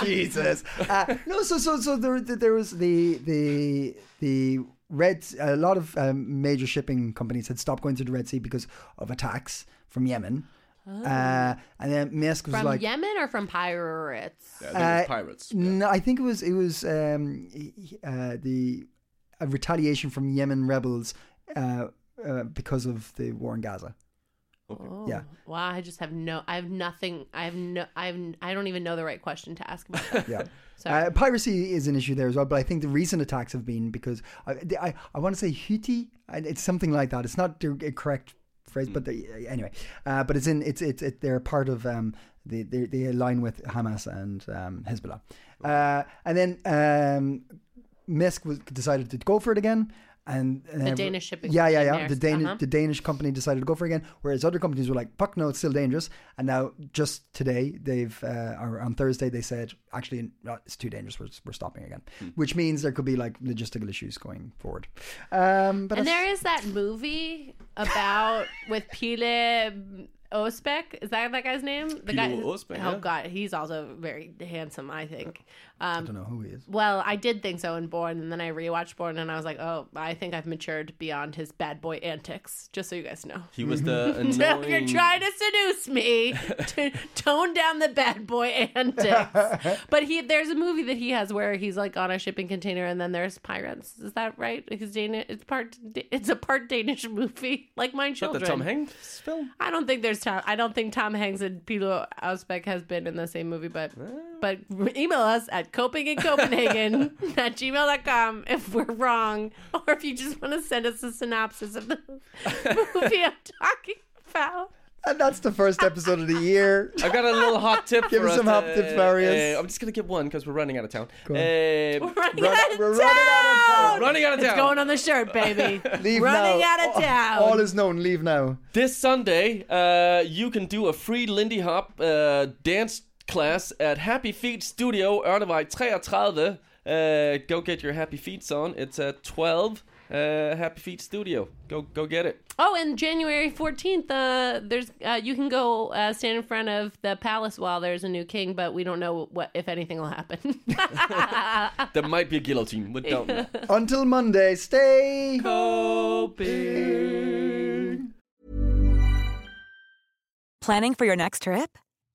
[SPEAKER 1] Jesus. Uh, no, so so so there there was the the the red. A lot of um, major shipping companies had stopped going to the Red Sea because of attacks from Yemen. Uh, and then Maersk was
[SPEAKER 3] from
[SPEAKER 1] like,
[SPEAKER 3] Yemen or from pirates?
[SPEAKER 2] Yeah, I think
[SPEAKER 1] Uh,
[SPEAKER 2] it's pirates.
[SPEAKER 1] no, I think it was it was um, he- he- uh, the a retaliation from Yemen rebels uh, uh, because of the war in Gaza.
[SPEAKER 3] Oh,
[SPEAKER 1] Yeah.
[SPEAKER 3] Wow, I just have no. I have nothing. I have no. I have. n- I don't even know the right question to ask about that. [laughs]
[SPEAKER 1] Yeah.
[SPEAKER 3] Sorry.
[SPEAKER 1] Uh, piracy is an issue there as well, but I think the recent attacks have been because I, the- I, I want to say Houthi, and it's something like that. It's not the correct phrase,
[SPEAKER 3] Mm.
[SPEAKER 1] but the, anyway, uh, but it's in it's it's it, they're part of um they they, they align with Hamas and um, Hezbollah, uh, and then um, Misk was decided to go for it again. And uh,
[SPEAKER 3] The Danish shipping
[SPEAKER 1] yeah, yeah,
[SPEAKER 3] company,
[SPEAKER 1] yeah. The
[SPEAKER 3] Maersk,
[SPEAKER 1] Danish,
[SPEAKER 3] uh-huh.
[SPEAKER 1] the Danish company decided to go for it again, whereas other companies were like, "Fuck no, it's still dangerous." And now, just today, they've uh, or on Thursday, they said, "Actually, no, it's too dangerous. We're, we're stopping again," which means there could be like logistical issues going forward. Um, but that's-
[SPEAKER 3] and there is that movie about with Pile Ospek. Is that that guy's name? The guy.
[SPEAKER 2] Pile Osbeck,
[SPEAKER 3] Oh
[SPEAKER 2] yeah.
[SPEAKER 3] God, he's also very handsome. I think. Um,
[SPEAKER 1] I don't know who he is.
[SPEAKER 3] well, I did think so in Born, and then I rewatched Born, and I was like, "Oh, I think I've matured beyond his bad boy antics." Just so you guys know.
[SPEAKER 2] He
[SPEAKER 1] [laughs]
[SPEAKER 2] was the
[SPEAKER 3] So if
[SPEAKER 2] annoying.
[SPEAKER 3] you're trying to seduce
[SPEAKER 2] [laughs]
[SPEAKER 3] me, to tone down the bad boy
[SPEAKER 2] [laughs]
[SPEAKER 3] antics. But he, there's a movie that he has where he's like on a shipping container, and then there's pirates. Is that right? Because Danish, it's part, it's a part Danish movie, [laughs] like Mine
[SPEAKER 2] Not the
[SPEAKER 3] Children.
[SPEAKER 2] Tom Hanks film.
[SPEAKER 3] I don't think there's Tom. I don't think Tom Hanks and Pilo Ausbeck has been in the same movie, but but email us at coping in
[SPEAKER 2] [laughs]
[SPEAKER 3] Copenhagen at gmail.com if we're wrong, or if you just want to send us a synopsis of the [laughs] movie I'm talking about.
[SPEAKER 1] And that's the
[SPEAKER 3] [laughs]
[SPEAKER 1] first episode of the year.
[SPEAKER 2] I've got a little hot
[SPEAKER 1] [laughs]
[SPEAKER 2] tip.
[SPEAKER 1] Give
[SPEAKER 2] for
[SPEAKER 1] us some
[SPEAKER 2] us.
[SPEAKER 1] hot tips, Marius.
[SPEAKER 2] uh, I'm just gonna give one because we're running out of town.
[SPEAKER 1] on.
[SPEAKER 2] Um,
[SPEAKER 3] Running
[SPEAKER 1] Run-
[SPEAKER 3] out of
[SPEAKER 1] we're running
[SPEAKER 3] town.
[SPEAKER 1] out of
[SPEAKER 2] running out of
[SPEAKER 3] It's
[SPEAKER 2] town.
[SPEAKER 3] going on the shirt, baby.
[SPEAKER 1] [laughs] Leave
[SPEAKER 3] running
[SPEAKER 1] now.
[SPEAKER 3] out of town.
[SPEAKER 1] All, all is known. Leave now.
[SPEAKER 2] this Sunday, uh, you can do a free Lindy Hop uh, dance class at Happy Feet Studio Ørnevej 33. Uh, go get your Happy Feet on. It's at 12. Uh, Happy Feet Studio. Go go get it.
[SPEAKER 3] Oh, and January fourteenth, uh, there's uh, you can go uh, stand in front of the palace while there's a new king, but we don't know what if anything will happen. [laughs]
[SPEAKER 2] There might be a guillotine. We
[SPEAKER 1] [laughs]
[SPEAKER 2] don't know.
[SPEAKER 1] Until Monday, stay.
[SPEAKER 5] Planning for your next trip?